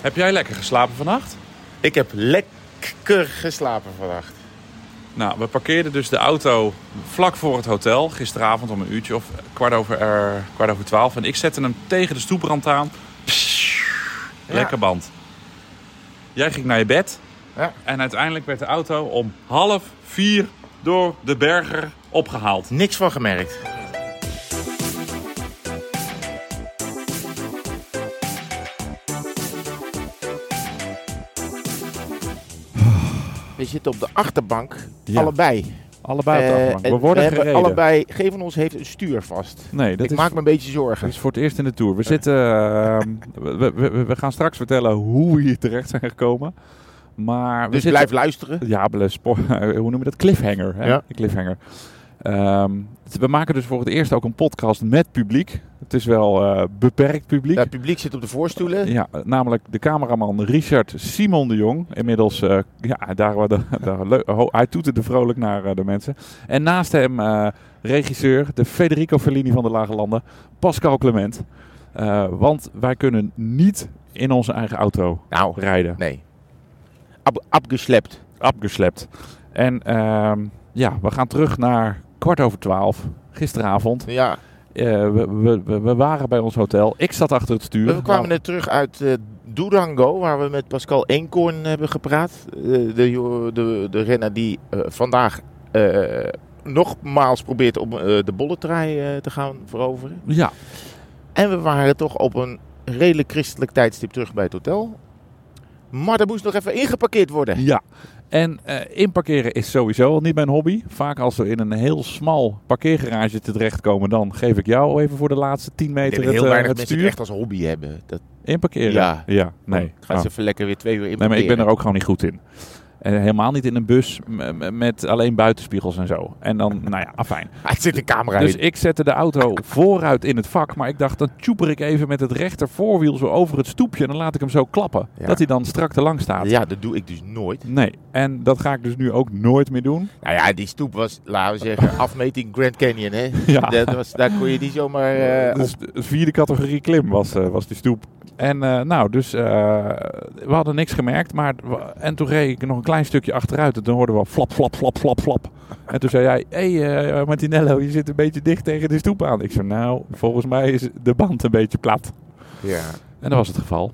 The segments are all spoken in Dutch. Heb jij lekker geslapen vannacht? Ik heb lekker geslapen vannacht. Nou, we parkeerden dus de auto vlak voor het hotel. Gisteravond om een uurtje of kwart over, eh, kwart over twaalf. En ik zette hem tegen de stoeprand aan. Lekker band. Jij ging naar je bed. Ja. En uiteindelijk werd de auto om half vier door de berger opgehaald. Niks van gemerkt. We zitten op de achterbank, Ja. allebei. Allebei op de Eh, achterbank. en We worden hebben gereden. allebei, geen van ons heeft een stuur vast. Nee, dat ik is, maak me een beetje dat zorgen. is voor het eerst in de Tour. We, zitten, ehm, we, we- we, we gaan straks vertellen hoe we hier terecht zijn gekomen. Maar we Dus zitten- blijf luisteren. Ja, bele- spo- hoe noem je dat? Cliffhanger. Hè? Ja. Een Cliffhanger. Ehm, het- we maken dus voor het eerst ook een podcast met publiek. Het is wel eh, beperkt publiek. Ja, het publiek zit op de voorstoelen. Ja, namelijk de cameraman Richard Simon de Jong. Inmiddels, eh, ja, daar, waar de, daar, leu- ho- hij toeterde vrolijk naar eh, de mensen. En naast hem eh, regisseur, de Federico Fellini van de Lage Landen, Pascal Clement. Eh, want wij kunnen niet in onze eigen auto Nou, rijden. nee. Ab abgeslept. Abgeslept. En ehm, ja, we gaan terug naar kwart over twaalf, gisteravond. Ja, Eh, we, we, we- we waren bij ons hotel. Ik zat achter het stuur. We kwamen net terug uit eh Durango, waar we met Pascal Eenkorn hebben gepraat. Eh, de, jo- de, de renner die eh, vandaag eh, nogmaals probeert om eh, de bolletraai eh, te gaan veroveren. Nou, Ja, En we waren toch op een redelijk christelijk tijdstip terug bij het hotel. Maar er moest nog even ingeparkeerd worden. Ja, en eh, inparkeren is sowieso al niet mijn hobby. Vaak als we in een heel smal parkeergarage terechtkomen, dan geef ik jou even voor de laatste 10 Ik meter denk het, heel eh, weinig het mensen die stuur. echt als hobby hebben. Dat Inparkeren? Ja. ja nee. Gaan Oh. ze even lekker weer twee uur in. nee, maar ik ben er ook gewoon niet goed in. En helemaal niet in een bus m- m- met alleen buitenspiegels en zo. En dan, nou ja, afijn. Hij Ah, zit een camera Dus in. ik zette de auto vooruit in het vak. Maar ik dacht, dan tjoeper ik even met het rechter voorwiel zo over het stoepje. En dan laat ik hem zo klappen. Ja. Dat hij dan strak te lang staat. Ja, dat doe ik dus nooit. Nee, en dat ga ik dus nu ook nooit meer doen. Nou ja, die stoep was, laten we zeggen, afmeting Grand Canyon. Hè? Ja. Dat was, daar kon je niet zomaar. eh, op- dus de vierde categorie klim was, eh, was die stoep. En eh, nou, dus eh, we hadden niks gemerkt. Maar, we- en toen reed ik nog een klein stukje achteruit. En toen hoorden we flap, flap, flap, flap, flap. En toen zei jij, hé hey, eh, Martinello, je zit een beetje dicht tegen de stoep aan. Ik zei, nou, volgens mij is de band een beetje plat. ja. En dat was het geval.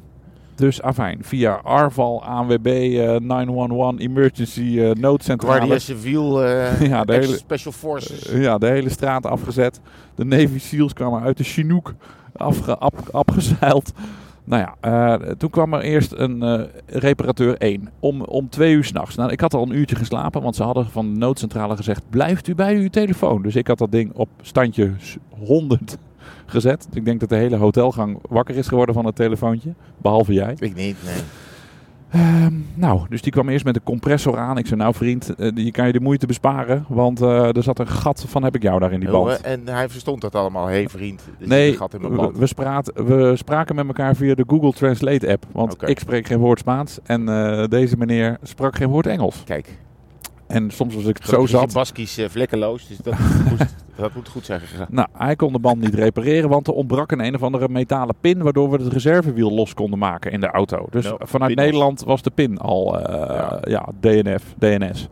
Dus afijn, via Arval, ANWB, eh, 911, Emergency, eh, Guardia noodcentrale. Civil, eh, Ja, de ex- hele- Eh, Special Forces. Ja, de hele straat afgezet. De Navy Seals kwamen uit de Chinook afge, ap- afgezeild. Nou ja, eh, toen kwam er eerst een eh, reparateur 1 om, om twee uur s'nachts. Nou, ik had al een uurtje geslapen, want ze hadden van de noodcentrale gezegd... blijft u bij uw telefoon. Dus ik had dat ding op standje s- 100 gezet. Ik denk dat de hele hotelgang wakker is geworden van het telefoontje. Behalve jij. Ik niet, nee. Ehm, nou, dus die kwam eerst met een compressor aan. Ik zei, nou vriend, eh, je kan je de moeite besparen. Want eh, er zat een gat van heb ik jou daar in die Jongen, band. Eh, En hij verstond dat allemaal. Hé hey, vriend, er zit Nee, een gat in mijn we, band. we, spraat- we spraken met elkaar via de Google Translate app. Want Oké. ik spreek geen woord Spaans. En eh, deze meneer sprak geen woord Engels. Kijk, En soms was ik zo gelukkig is die zat. Baskies eh, vlekkeloos, dus dat, moest, dat moet goed zijn gegaan. Nou, hij kon de band niet repareren, want er ontbrak een een of andere metalen pin... waardoor we het reservewiel los konden maken in de auto. Dus Nou, vanuit pin los. Nederland was de pin al eh, Ja. ja. DNF, DNS.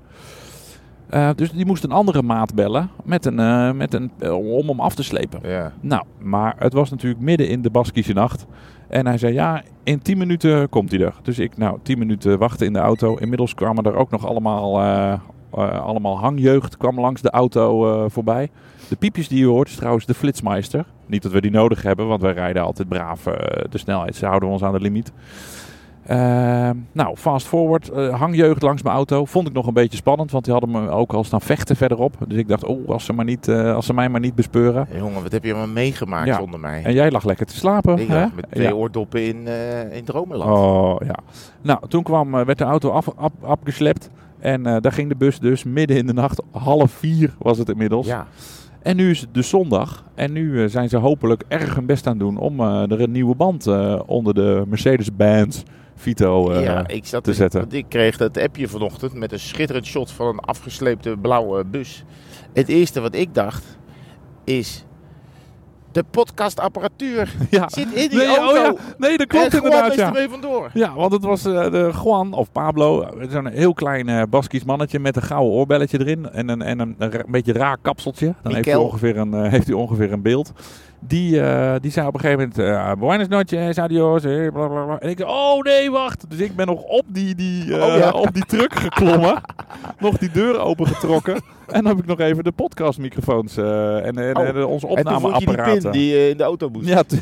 Eh, dus die moest een andere maat bellen met een, eh, met een, eh, om hem af te slepen. Ja. Nou, maar het was natuurlijk midden in de Baskische nacht. En hij zei, ja, in 10 minuten komt hij er. Dus ik, nou, 10 minuten wachten in de auto. Inmiddels kwamen er ook nog allemaal, eh, eh, allemaal hangjeugd kwam langs de auto eh, voorbij. De piepjes die je hoort is trouwens de flitsmeister. Niet dat we die nodig hebben, want wij rijden altijd braaf eh, de snelheid. Ze houden ons aan de limiet. Ehm, nou, fast forward. eh, hangjeugd langs mijn auto. Vond ik nog een beetje spannend, want die hadden me ook al staan vechten verderop. Dus ik dacht, oh, als ze, maar niet, eh, als ze mij maar niet bespeuren. Hé, jongen, wat heb je allemaal meegemaakt Ja. zonder mij? En jij lag lekker te slapen. Ik hè? lag met twee Ja. oordoppen in, eh in Dromeland. Oh ja. Nou, toen kwam, eh, werd de auto af, af, afgeslept. En eh, daar ging de bus dus midden in de nacht, half vier was het inmiddels. Ja, En nu is het dus zondag. En nu eh, zijn ze hopelijk erg hun best aan het doen om eh, er een nieuwe band eh, onder de Mercedes-Benz Vito eh, ja, ik zat te zetten. Want ik kreeg dat appje vanochtend met een schitterend shot van een afgesleepte blauwe bus. Het eerste wat ik dacht is: de podcastapparatuur Ja. zit in die Nee, auto. oh ja. nee, dat klopt en gewoon inderdaad. is Ja. ermee vandoor. Ja, want het was eh, de Juan of Pablo, eh, zo'n heel klein eh Baskisch mannetje met een gouden oorbelletje erin en een, en een, een ra- beetje raar kapseltje. Dan heeft hij, Mikel. ongeveer een, eh, heeft hij ongeveer een beeld. Die, eh, die zei op een gegeven moment, eh buenas noches, adios, eh, bla, bla, bla. En ik zei, oh nee, wacht. Dus ik ben nog op die, die, eh, Oh, ja. op die truck geklommen, nog die deur opengetrokken. En dan heb ik nog even de podcastmicrofoons eh en, en, Oh. en, eh, onze En toen vond je die pin opnameapparaten. die eh, in de auto moest. Ja, tu-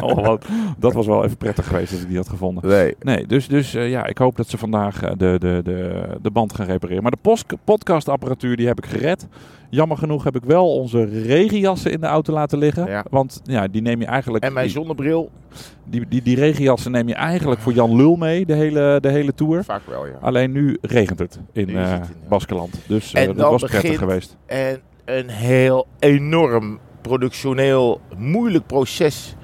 oh, wat. dat was wel even prettig geweest als ik die had gevonden. Nee. Nee, dus, dus eh, ja, ik hoop dat ze vandaag eh, de, de, de, de band gaan repareren. Maar de post- podcastapparatuur die heb ik gered. Jammer genoeg heb ik wel onze regenjassen in de auto laten liggen. Ja. Want ja, die neem je eigenlijk... En mijn die, zonnebril, die, die, die regenjassen neem je eigenlijk voor Jan Lul mee, de hele, de hele tour. vaak wel ja. Alleen nu regent het in Nu is het eh, in, ja. Baskeland. Dus En eh, dat dan was prettig begint- geweest. En een heel enorm productioneel moeilijk proces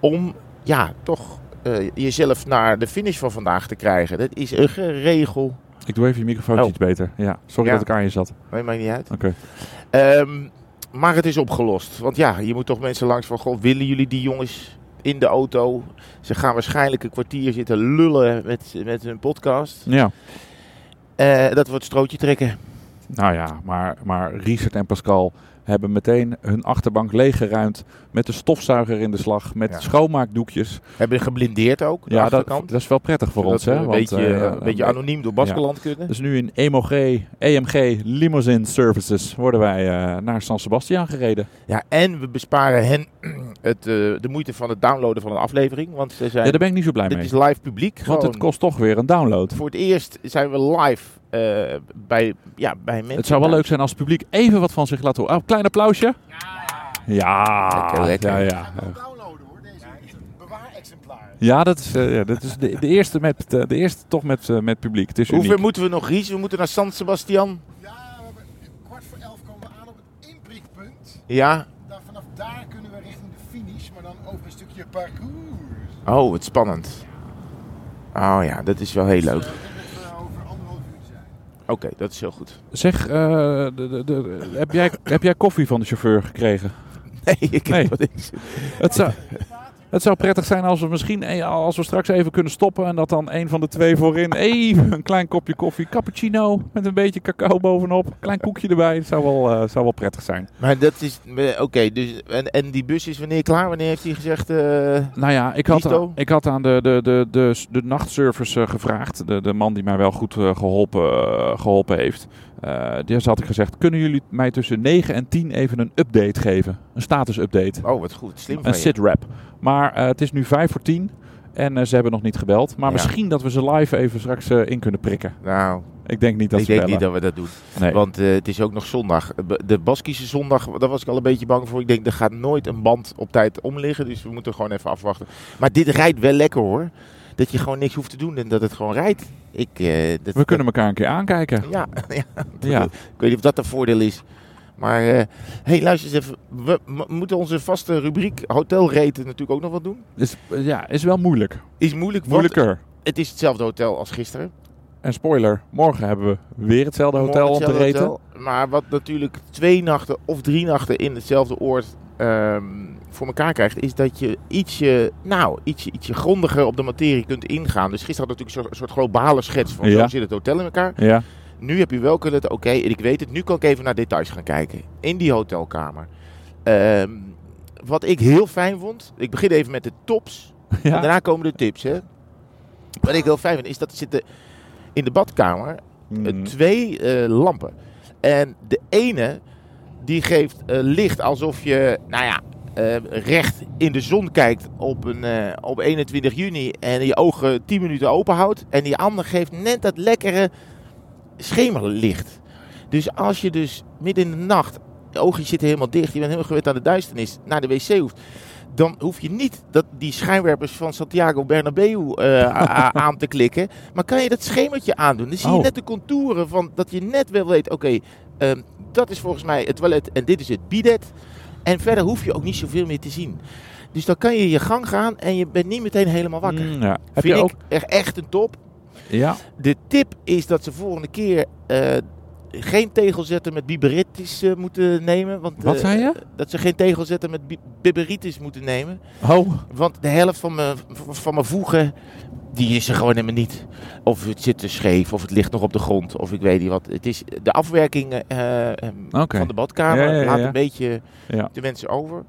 om ja, toch eh, jezelf naar de finish van vandaag te krijgen. Dat is een geregel. Ik doe even je microfoon Oh. iets beter. Ja, sorry Ja. dat ik aan je zat. Nee, maakt niet uit. Oké. Ehm, maar het is opgelost. Want ja, je moet toch mensen langs van... Goh, willen jullie die jongens in de auto? Ze gaan waarschijnlijk een kwartier zitten lullen met, met hun podcast. Ja. Eh, dat wordt strootje trekken. Nou ja, maar, maar Richard en Pascal hebben meteen hun achterbank leeggeruimd. Met de stofzuiger in de slag, met Ja. schoonmaakdoekjes. Hebben geblindeerd ook, de Ja, dat, achterkant. dat is wel prettig voor ons. Zodat we Hè? een, Want, beetje, eh, ja, een beetje eh, anoniem door Baskeland kunnen. Dus nu in EMG, EMG E Limousine Services worden wij eh, naar San Sebastian gereden. Ja, en we besparen hen het, eh, de moeite van het downloaden van een aflevering. Want ze Ja, zijn, daar ben ik niet zo blij dit mee. is live publiek. Want gewoon. het kost toch weer een download. Voor het eerst zijn we live eh, bij, ja, bij mensen. Het zou wel leuk zijn als het publiek even wat van zich laat horen. Oh, klein applausje. Ja, Lekker, lekker. ja, ja. downloaden hoor, deze bewaarexemplaar. Ah, Ja, dat is, eh, ja, dat is de, de, eerste met, eh, de eerste toch met, eh, met publiek. Het is uniek. Hoeveel moeten we nog, Ries? We moeten naar San Sebastian. Ja, we hebben kwart voor elf komen we aan op het inprikpunt. Ja. Daar, vanaf daar kunnen we richting de finish, maar dan over een stukje parcours. Oh, wat spannend. Oh ja, dat is wel heel leuk. Eh, dat moet eh, over anderhalf uur zijn. Oké, dat is heel goed. Zeg, eh, de, de, de- heb, jij, heb jij koffie van de chauffeur gekregen? Nee, ik Nee. heb wat niks. Het zou, het zou prettig zijn als we misschien eh, als we straks even kunnen stoppen en dat dan een van de twee voorin even een klein kopje koffie, cappuccino met een beetje cacao bovenop, klein koekje erbij. Het zou wel, eh, zou wel prettig zijn. Maar dat is... eh, Oké, dus... En, en die bus is wanneer klaar? Wanneer heeft hij gezegd... eh, Nou ja, ik had, Dito? ik had aan de, de, de, de, de nachtservice eh, gevraagd. De, de man die mij wel goed eh, geholpen, eh, geholpen heeft. Eh die had ik gezegd, kunnen jullie mij tussen 9 en 10 even een update geven? Een status update. Oh, wat goed. Slim van Een je. sit-rap. Maar eh, het is nu 5 voor 10 en eh, ze hebben nog niet gebeld. Maar Ja. misschien dat we ze live even straks eh, in kunnen prikken. Nou, Ik denk niet dat ik ze denk bellen. niet dat we dat doen. Nee. Want eh, het is ook nog zondag. B- De Baskische zondag, daar was ik al een beetje bang voor. Ik denk, er gaat nooit een band op tijd omliggen. Dus we moeten gewoon even afwachten. Maar dit rijdt wel lekker hoor. Dat je gewoon niks hoeft te doen en dat het gewoon rijdt. Ik, eh, dat, We kunnen elkaar een keer aankijken. dat- ja, ja, Ja. ik weet niet of dat een voordeel is. Maar, eh hey, luister eens even. We m- moeten onze vaste rubriek hotelreten natuurlijk ook nog wat doen. Is, ja, is wel moeilijk. Dus, eh, Is moeilijk, want Moeilijker. het is hetzelfde hotel als gisteren. En spoiler, morgen hebben we weer hetzelfde hotel om Morgen te hetzelfde reten. hotel. maar wat natuurlijk twee nachten of drie nachten in hetzelfde oord ehm, voor elkaar krijgt, is dat je ietsje, nou, ietsje, ietsje grondiger op de materie kunt ingaan. Dus gisteren had ik natuurlijk een soort globale schets van Ja. zo zit het hotel in elkaar. Ja. Nu heb je wel kunnen, oké, ik weet het, nu kan ik even naar details gaan kijken in die hotelkamer. Ehm, wat ik heel fijn vond, ik begin even met de tops. En ja. daarna komen de tips, hè. Wat ik heel fijn vind, is dat er zitten in de badkamer eh, Mm. twee eh, lampen. En de ene die geeft eh, licht alsof je, nou ja, eh, recht in de zon kijkt op, een, eh, op 21 juni en je ogen 10 minuten open houdt. En die andere geeft net dat lekkere schemerlicht. Dus als je dus midden in de nacht, je ogen zitten helemaal dicht, je bent helemaal gewend aan de duisternis, naar de wc hoeft. Dan hoef je niet dat die schijnwerpers van Santiago Bernabeu eh, a- a- aan te klikken. Maar kan je dat schemertje aandoen? Dan zie je Oh. net de contouren van dat je net wel weet: oké, ehm, dat is volgens mij het toilet en dit is het bidet. En verder hoef je ook niet zoveel meer te zien. Dus dan kan je je gang gaan en je bent niet meteen helemaal wakker. Mm, ja. Heb Vind je ook? ik echt- echt een top. Ja. De tip is dat ze volgende keer eh, geen tegelzetten met biberitis eh, moeten nemen. Want, Wat eh, zei je? Dat ze geen tegelzetten met bi- biberitis moeten nemen. Oh, Want de helft van mijn, v- van mijn voegen, die is er gewoon helemaal niet. Of het zit te scheef, of het ligt nog op de grond, of ik weet niet wat. Het is de afwerking eh, eh, Oké. van de badkamer Ja, ja, ja, laat ja. een beetje Ja. de mensen over.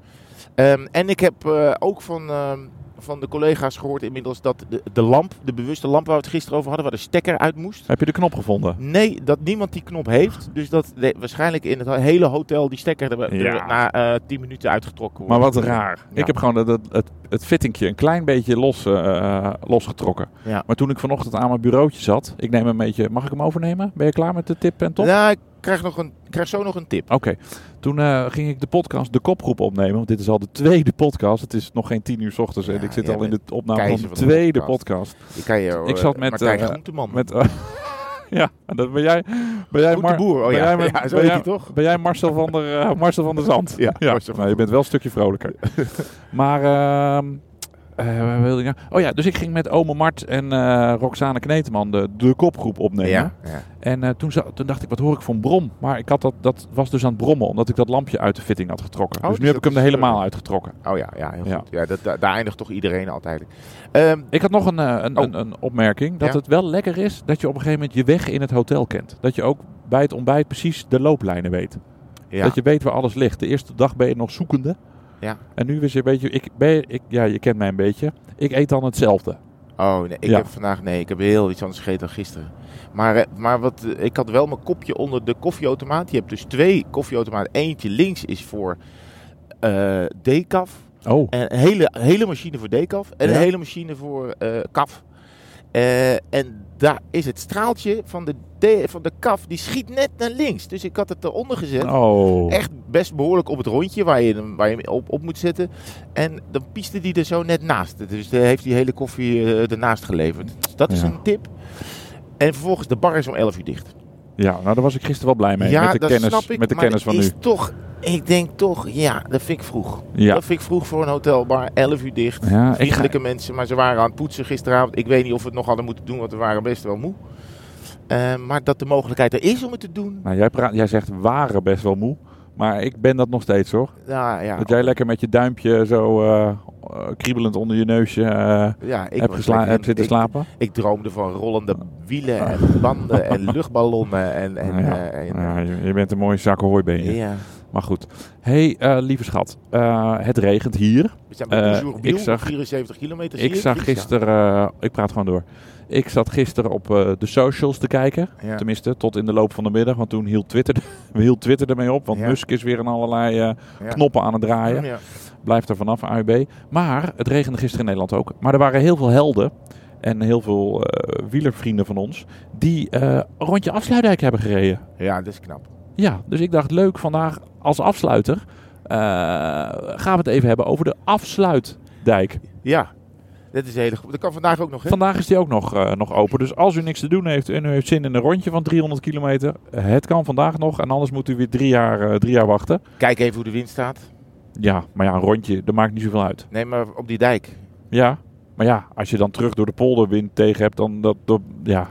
Ehm, en ik heb eh, ook van, ehm, van de collega's gehoord inmiddels dat de, de lamp, de bewuste lamp waar we het gisteren over hadden, waar de stekker uit moest. heb je de knop gevonden? Nee, dat niemand die knop heeft. Dus dat de- waarschijnlijk in het hele hotel die stekker er, er Ja. na eh 10 minuten uitgetrokken Maar wordt. wat raar. Ja. Ik heb gewoon het, het, het fittingje een klein beetje los, eh, losgetrokken. Ja. Maar toen ik vanochtend aan mijn bureautje zat, ik neem een beetje. Mag ik hem overnemen? Ben je klaar met de tip en top? Ja, Nou, ik krijg, nog een, ik krijg zo nog een tip. Oké, toen eh, ging ik de podcast, de kopgroep opnemen. Want dit is al de tweede podcast. Het is nog geen tien uur 's ochtends en Ja, ik zit jij al in de bent opname van de keizer van de tweede podcast. podcast. Ik, kan je, Ik zat met, Martijn eh, Groenteman. Met, eh, ja, dat ben jij. Ben jij Goed de boer, oh ben ja. jij, maar- Ja, zo ben heet jij- hij toch? Ben jij Marcel van der, eh, Marcel van der Zand? Ja, Marcel van Nou, je bent wel een stukje vrolijker. maar, ehm eh, waar wilde ik nou? Oh ja, dus ik ging met Ome Mart en eh Roxane Kneteman de, de kopgroep opnemen. ja, ja. En eh, toen, za- toen dacht ik, wat hoor ik van brom? Maar ik had dat, dat was dus aan het brommen, omdat ik dat lampje uit de fitting had getrokken. Oh, dus nu dus heb ik hem dat er is, helemaal eh, uitgetrokken. Oh ja, ja heel Ja. goed. Ja, dat, daar, daar eindigt toch iedereen altijd. Ehm, Ik had nog een, eh, een, Oh. een, een opmerking. Dat Ja? het wel lekker is dat je op een gegeven moment je weg in het hotel kent. Dat je ook bij het ontbijt precies de looplijnen weet. ja. Dat je weet waar alles ligt. De eerste dag ben je nog zoekende. Ja. En nu is je een beetje... Ik ben, ik, ja, je kent mij een beetje. Ik eet dan hetzelfde. Oh nee, ik Ja. heb vandaag nee, ik heb heel iets anders gegeten dan gisteren. Maar, eh, maar wat, eh, ik had wel mijn kopje onder de koffieautomaat. Je hebt dus twee koffieautomaten. Eentje links is voor eh decaf. Oh, En Een hele, hele machine voor decaf en Ja. een hele machine voor eh kaf. Eh, en daar is het straaltje van de, de, van de kaf, die schiet net naar links. Dus ik had het eronder gezet. oh. Echt best behoorlijk op het rondje waar je hem, waar je hem op, op moet zetten. En dan pieste die er zo net naast. Dus eh, heeft die hele koffie eh, ernaast geleverd. Dus dat is Ja. een tip. En vervolgens, de bar is om 11 uur dicht. Ja, nou daar was ik gisteren wel blij mee. met de kennis, met de maar kennis het van nu. is toch, ik denk toch, ja, dat vind ik vroeg. Ja. Dat vind ik vroeg voor een hotelbar, 11 uur dicht. Ja, ik ga, Vriendelijke mensen, maar ze waren aan het poetsen gisteravond. Ik weet niet of we het nog hadden moeten doen, want we waren best wel moe. Eh, maar dat de mogelijkheid er is om het te doen. nou, jij, praat, jij zegt waren best wel moe. Maar ik ben dat nog steeds hoor. Ja, ja. Dat jij lekker met je duimpje zo eh, eh, kriebelend onder je neusje eh ja ik hebt, was gesla- lekker- hebt zitten ik- slapen. Ik droomde van rollende wielen en banden en luchtballonnen en... en, Nou ja. eh, en- Ja, je, je bent een mooie zak hooibenje. ja. Maar goed. hey, eh, lieve schat. eh, het regent hier. We zijn bij Eh, Bonjour ik Biel, zag- 74 kilometer. zie ik je? zag Ja. gisteren... eh, ik praat gewoon door. Ik zat gisteren op eh, de socials te kijken. Ja. Tenminste, tot in de loop van de middag. Want toen hield Twitter, hield Twitter ermee op. Want Ja. Musk is weer aan allerlei eh, Ja. knoppen aan het draaien. Ja. Blijft er vanaf, AUB. Maar het regende gisteren in Nederland ook. Maar er waren heel veel helden en heel veel eh, wielervrienden van ons... die eh rond je afsluitdijk hebben gereden. ja, dat is knap. Ja, dus ik dacht leuk vandaag als afsluiter... eh, gaan we het even hebben over de afsluitdijk. Ja, dat is heel goed. Dat kan vandaag ook nog, hè? Vandaag is die ook nog, eh, nog open. Dus als u niks te doen heeft en u heeft zin in een rondje van 300 kilometer... het kan vandaag nog en anders moet u weer drie jaar, eh, drie jaar wachten. Kijk even hoe de wind staat. Ja, maar ja, een rondje, dat maakt niet zoveel uit. Nee, maar op die dijk. Ja, maar ja, als je dan terug door de polder wind tegen hebt, dan dat, dat- ja,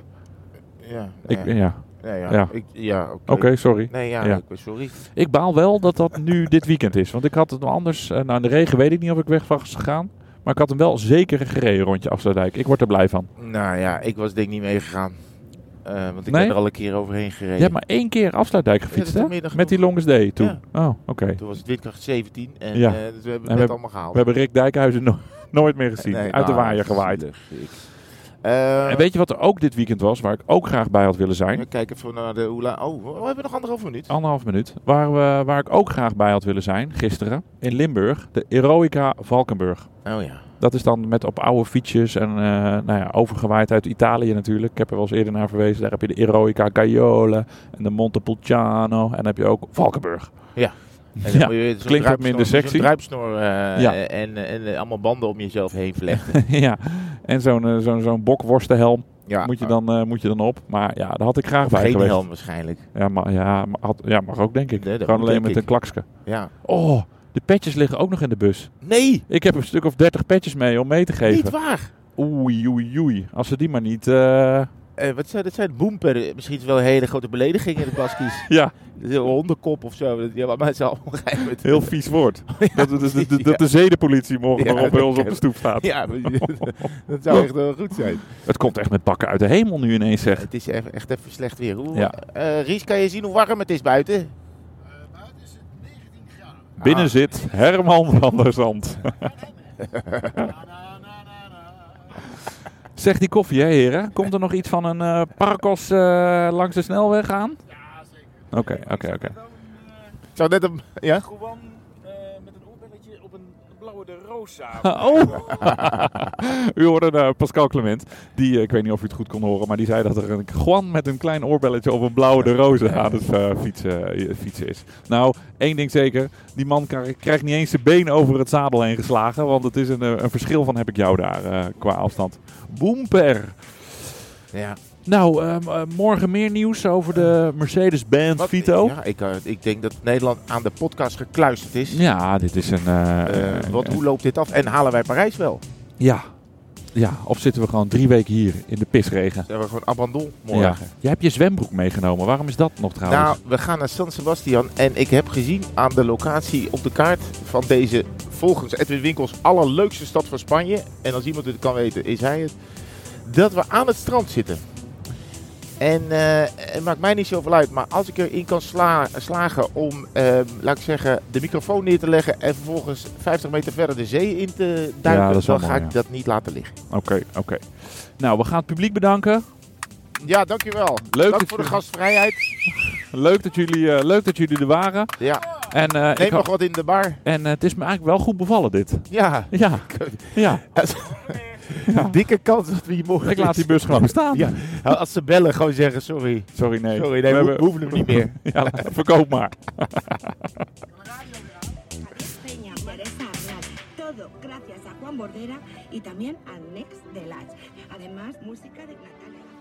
Ja, ik, ja. Nee, ja. Ja. Ik, ja oké. oké, sorry. Nee, ja, Ja. ik ben sorry. Ik baal wel dat dat nu dit weekend is, want ik had het anders, eh, nou in de regen weet ik niet of ik weg was gegaan, maar ik had hem wel zeker gereden rondje Afsluitdijk. Ik word er blij van. Nou ja, ik was denk ik niet meegegaan. Eh, want ik Nee? ben er al een keer overheen gereden. Je hebt maar één keer Afsluitdijk Ja, dat gefietst, is hè? vanmiddag Met die nog. Longest Day toen. Oh, oké. Toen was het windkracht 17 en Ja. eh, dus we hebben En het we- net allemaal gehaald. We hebben Rick Dijkhuizen no- nooit meer gezien, Nee, uit de nou, waaier gewaaid. zielig. Ik- Eh, En weet je wat er ook dit weekend was, waar ik ook graag bij had willen zijn? we kijken even naar de Oela. Oh, we hebben nog anderhalf minuut. Anderhalf minuut. Waar, we, waar ik ook graag bij had willen zijn, gisteren, in Limburg, de Eroica Valkenburg. Oh ja. Dat is dan met op oude fietsjes en eh, nou ja, overgewaaid uit Italië natuurlijk. Ik heb er wel eens eerder naar verwezen. Daar heb je de Eroica Gaiole en de Montepulciano. En dan heb je ook Valkenburg. En Ja, moet je zo'n klinkt wat minder druipsnor- zo'n sexy. druipsnor eh, Ja. en, en, eh, allemaal banden om jezelf heen verleggen. ja. En zo'n eh, zo'n zo'n bokworstenhelm Ja, moet, je dan, eh, moet je dan op. Maar ja, daar had ik graag bij Geen geweest. helm waarschijnlijk. Ja, maar, ja, maar had- ja, mag ook denk ik. Nee, dat Gewoon moet, alleen met denk een ik. klakske. Ja. Oh, de petjes liggen ook nog in de bus. Nee, Ik heb een stuk of 30 petjes mee om mee te niet geven. waar. Oei, oei, oei. Als ze die maar niet... eh, eh, wat zijn dat? Zijn boemperren. eh, Misschien is het wel een hele grote belediging in de Baskisch. Ja, Dat is een hondenkop of zo. Dat- Ja, maar het is allemaal geheim. heel vies woord. dat, dat, dat- dat- dat de zedenpolitie morgen Ja, nog op bij dat ons op de ken- stoep staat. Ja, dat zou echt wel goed zijn. Het komt echt met bakken uit de hemel nu ineens, zeg. Het is e- echt even slecht weer. Hoe, Ja. eh, Ries, kan je zien hoe warm het is buiten? Eh, buiten is het 19 graden. Binnen Ah. zit Herman van der Zand. Na, na, na, na, na. Zeg die koffie, hè, heren. Komt er nog iets van een eh Parkos eh, langs de snelweg aan? Ja, zeker. Oké, oké, oké. Dan eh, Ik zou net een... Ja? gewoon eh, met een oorbelletje op een blauwe de roos Oh! u hoorde eh, Pascal Clement. Die, eh, ik weet niet of u het goed kon horen, maar die zei dat er een Juan met een klein oorbelletje op een blauwe de roze aan het eh, fietsen, eh, fietsen is. Nou, één ding zeker. Die man kar- krijgt niet eens zijn been over het zadel heen geslagen. Want het is een, eh, een verschil van heb ik jou daar eh, qua afstand. Boemper! Ja. Nou, ehm, eh, morgen meer nieuws over de Mercedes-Benz Wat- Vito. Ja. Ja, ik, eh, ik denk dat Nederland aan de podcast gekluisterd is. dit is een... eh, Eh, een- want hoe loopt dit af? En halen wij Parijs wel? Ja. ja, of zitten we gewoon drie weken hier in de pisregen? Zijn we gewoon abandon Ja. morgen? Je hebt je zwembroek meegenomen. Waarom is dat nog trouwens? Nou, we gaan naar San Sebastian en ik heb gezien aan de locatie op de kaart van deze volgens Edwin Winkels allerleukste stad van Spanje. En als iemand het kan weten, is hij het. Dat we aan het strand zitten. En eh, het maakt mij niet zoveel uit, maar als ik erin kan sla- slagen om, eh, laat ik zeggen, de microfoon neer te leggen en vervolgens 50 meter verder de zee in te duiken, dat is wel dan ga mooi, ik ja. dat niet laten liggen. Oké, oké. Nou, we gaan het publiek bedanken. Ja, dankjewel. Leuk dat Dank voor de je- gastvrijheid. Leuk dat jullie, eh, leuk dat jullie er waren. Ja, En, eh, ik neem ho- nog wat in de bar. en eh, het is me eigenlijk wel goed bevallen dit. Ja. Ja, ja. Dikke kans dat we hier morgen... ik laat die bus gewoon staan. Ja, als ze bellen, gewoon zeggen sorry. Sorry, nee. Sorry, nee, we, hebben- we hoeven hem niet meer. Ja, verkoop maar. Peña merece hablar. Todo gracias a Juan Bordera y también a Next de Latch. Además, música de Natalia. Lafourcade.